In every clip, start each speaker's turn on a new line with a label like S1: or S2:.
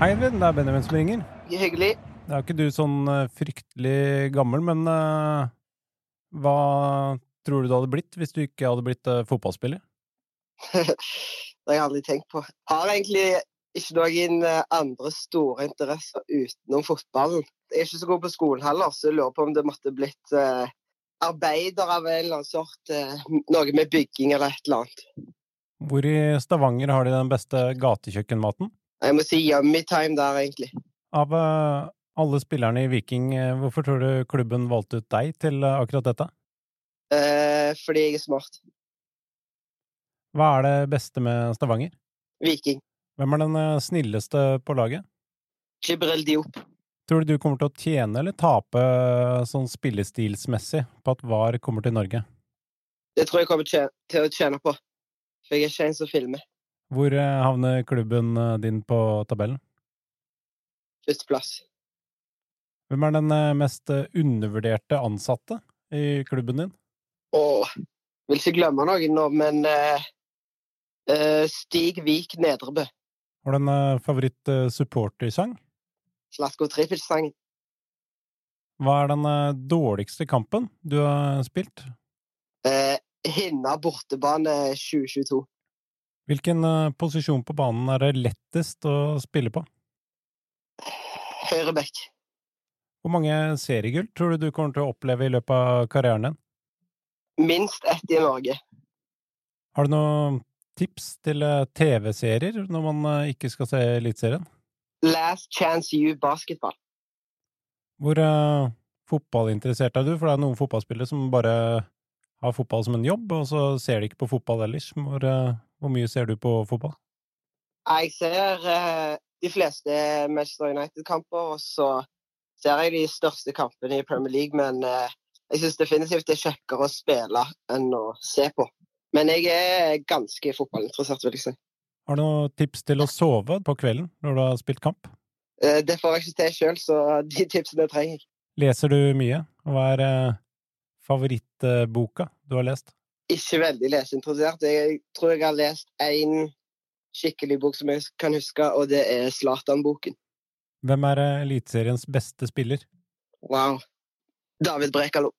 S1: Hei, Edvin. Det er Benjamin som ringer.
S2: Hyggelig.
S1: Det er jo ikke du sånn eh, fryktelig gammel, men eh, hva tror du du hadde blitt hvis du ikke hadde blitt eh, fotballspiller?
S2: Det har jeg aldri tenkt på. Har egentlig ikke noen eh, andre store interesser utenom fotballen. Jeg er ikke så god på skolen heller, så jeg lurer på om det måtte blitt eh, arbeider av en eller annen sort. eh, noe med bygging eller et eller annet.
S1: Hvor i Stavanger har de den beste gatekjøkkenmaten?
S2: Jeg må si yummy time der, egentlig.
S1: Av eh, alle spillerne i Viking, eh, hvorfor tror du klubben valgte ut deg til eh, akkurat dette?
S2: Eh, fordi jeg er smart.
S1: Hva er det beste med Stavanger?
S2: Viking.
S1: Hvem er den eh, snilleste på laget?
S2: Jibril Diop.
S1: Tror du du kommer til å tjene eller tape eh, sånn spillestilsmessig på at VAR kommer til Norge?
S2: Det tror jeg kommer tje- til å tjene på. For jeg er ikke en som filmer.
S1: Hvor eh, havner klubben eh, din på tabellen?
S2: Førsteplass.
S1: Hvem er den eh, mest eh, undervurderte ansatte i klubben din?
S2: Åh, vil ikke glemme noen nå, men eh, eh, Stig Vik Nedrebø.
S1: Har du en eh, favoritt eh, supportersang?
S2: Slatko Trippelsang.
S1: Hva er den eh, dårligste kampen du har spilt?
S2: Eh, Hinna bortebane 2022.
S1: Hvilken eh, posisjon på banen er det lettest å spille på?
S2: Høyrebekk.
S1: Hvor mange seriegull tror du du kommer til å oppleve i løpet av karrieren din?
S2: Minst ett i Norge.
S1: Har du noen tips til eh, TV-serier når man eh, ikke skal se Eliteserien?
S2: Last chance you basketball.
S1: Hvor eh, fotballinteressert er du? For det er noen fotballspillere som bare har fotball som en jobb, og så ser de ikke på fotball ellers. Hvor, eh, hvor mye ser du på fotball?
S2: Jeg ser eh, de fleste Manchester United-kamper, og så ser jeg de største kampene i Premier League, men eh, jeg syns definitivt det er kjekkere å spille enn å se på. Men jeg er ganske fotballinteressert, vil jeg si.
S1: Har du noen tips til å sove på kvelden når du har spilt kamp?
S2: Eh, Det får jeg ikke til sjøl, så de tipsene trenger jeg.
S1: Leser du mye? Hva er eh, favorittboka du har lest?
S2: Ikke veldig leseinteressert. Jeg tror jeg har lest én skikkelig bok som jeg kan huske, og det er Zlatan-boken.
S1: Hvem er eh, Eliteseriens beste spiller?
S2: Wow. David Brekalo.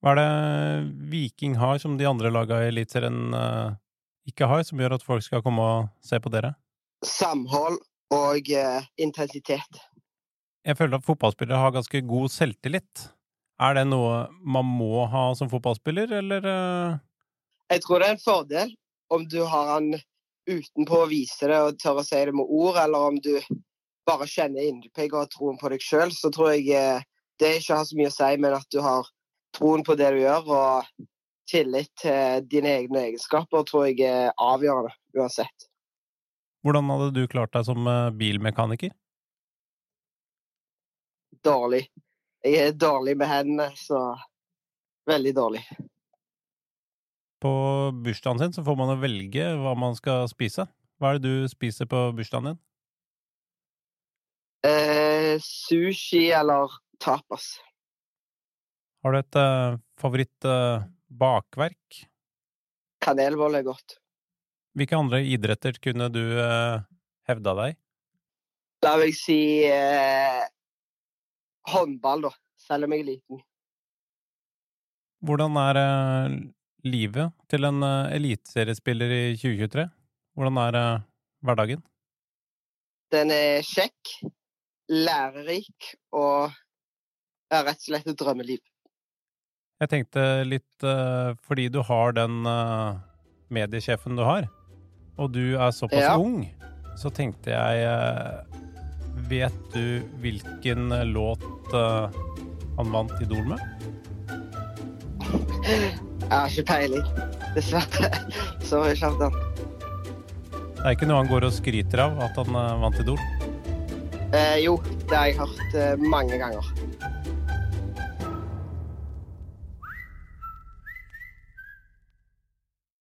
S1: Hva er det Viking har som de andre laga i Eliteserien eh, ikke har, som gjør at folk skal komme og se på dere?
S2: Samhold og eh, intensitet.
S1: jeg føler at fotballspillere har ganske god selvtillit. Er det noe man må ha som fotballspiller, eller eh,
S2: Jeg tror det er en fordel om du har han utenpå å vise det og tør å si det med ord, eller om du bare kjenner inni deg og har troen på deg sjøl, så tror jeg eh, det ikke har så mye å si, men at du har troen på det du gjør, og tillit til dine egne egenskaper, tror jeg er avgjørende uansett.
S1: hvordan hadde du klart deg som eh, bilmekaniker?
S2: dårlig. Jeg er dårlig med hendene, så veldig dårlig.
S1: På bursdagen sin så får man jo velge hva man skal spise. Hva er det du spiser på bursdagen din?
S2: Eh, sushi eller tapas?
S1: Har du et eh, favoritt eh, bakverk?
S2: Kanelbolle er godt.
S1: Hvilke andre idretter kunne du eh, hevda deg? i?
S2: Da vil jeg si eh, håndball, da. Selv om jeg er liten.
S1: Hvordan er eh, livet til en eh, eliteseriespiller i 2023? Hvordan er eh, hverdagen?
S2: Den er kjekk, lærerik og er rett og slett et drømmeliv.
S1: Jeg tenkte litt eh, fordi du har den eh, mediesjefen du har, og du er såpass
S2: Ja.
S1: ung, så tenkte jeg eh, Vet du hvilken låt eh, han vant Idol med?
S2: Jeg har ikke peiling, dessverre. Sorry, Kjartan.
S1: Det er ikke noe han går og skryter av, at han eh, vant Idol.
S2: Eh, jo, det har jeg hørt eh, mange ganger.